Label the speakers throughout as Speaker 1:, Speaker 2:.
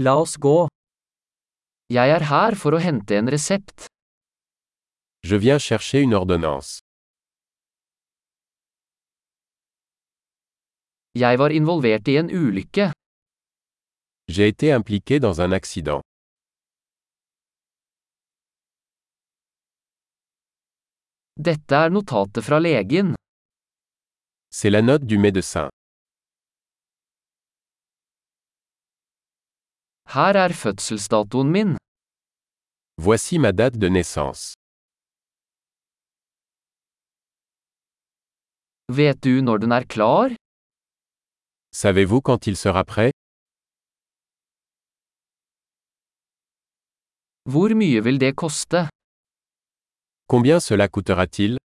Speaker 1: La oss gå. Jeg er her for å hente en resept.
Speaker 2: Je viens chercher une ordonnance.
Speaker 1: Jeg var involvert i en ulykke.
Speaker 2: J'ai été impliqué dans un accident.
Speaker 1: Dette er notatet fra legen.
Speaker 2: C'est la note du médecin.
Speaker 1: Her er fødselsdatoen min.
Speaker 2: Voici ma date de naissance.
Speaker 1: Vet du når den er klar?
Speaker 2: Savez-vous quand il sera prêt
Speaker 1: Hvor mye vil det koste?
Speaker 2: Combien cela coûtera-t-il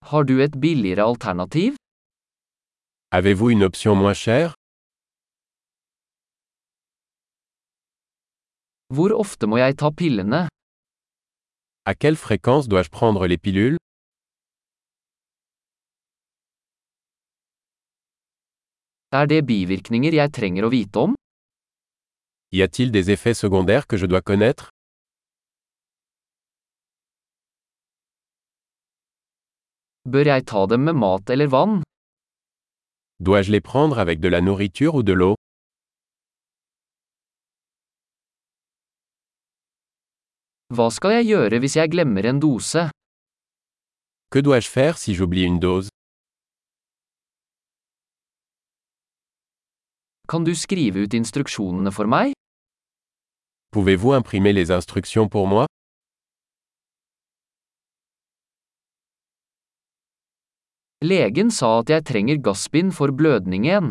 Speaker 1: Har du et billigere alternativ?
Speaker 2: Avez-vous une option moins chère
Speaker 1: Hvor ofte må jeg ta pillene?
Speaker 2: À quelle fréquence dois-je prendre les pilules
Speaker 1: Er det bivirkninger jeg trenger å vite om?
Speaker 2: Y a-t-il des effets secondaires que je dois connaître
Speaker 1: Bør jeg ta dem med mat eller vann?
Speaker 2: Dois-je les prendre avec de la nourriture ou de l'eau
Speaker 1: Hva skal jeg gjøre hvis jeg glemmer en dose?
Speaker 2: Que dois-je faire si j'oublie une dose
Speaker 1: Kan du skrive ut instruksjonene for meg?
Speaker 2: Pouvez-vous imprimer les instructions pour moi
Speaker 1: Legen sa at jeg trenger gassbind for blødningen.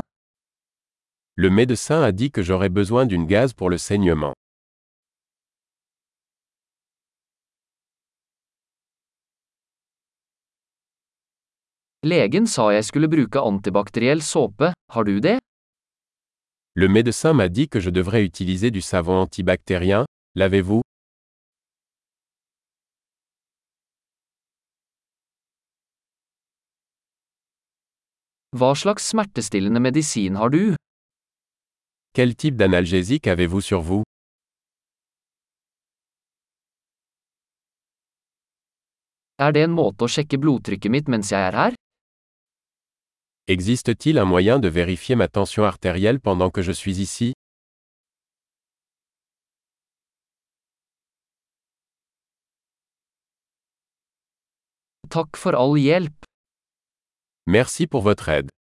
Speaker 2: Le médecin a dit que j'aurais besoin d'une gaz pour le saignement.
Speaker 1: Legen sa jeg skulle bruke antibakteriell såpe, har du det?
Speaker 2: Le médecin m'a dit que je devrais utiliser du savon antibactérien. L'avez-vous
Speaker 1: Hva slags smertestillende medisin har du?
Speaker 2: Quel type d'analgésique avez-vous sur vous
Speaker 1: Er det en måte å sjekke blodtrykket mitt mens jeg er her?
Speaker 2: Existe-t-il un moyen de vérifier ma tension artérielle pendant que je suis ici
Speaker 1: Takk for all hjelp.
Speaker 2: Merci pour votre aide.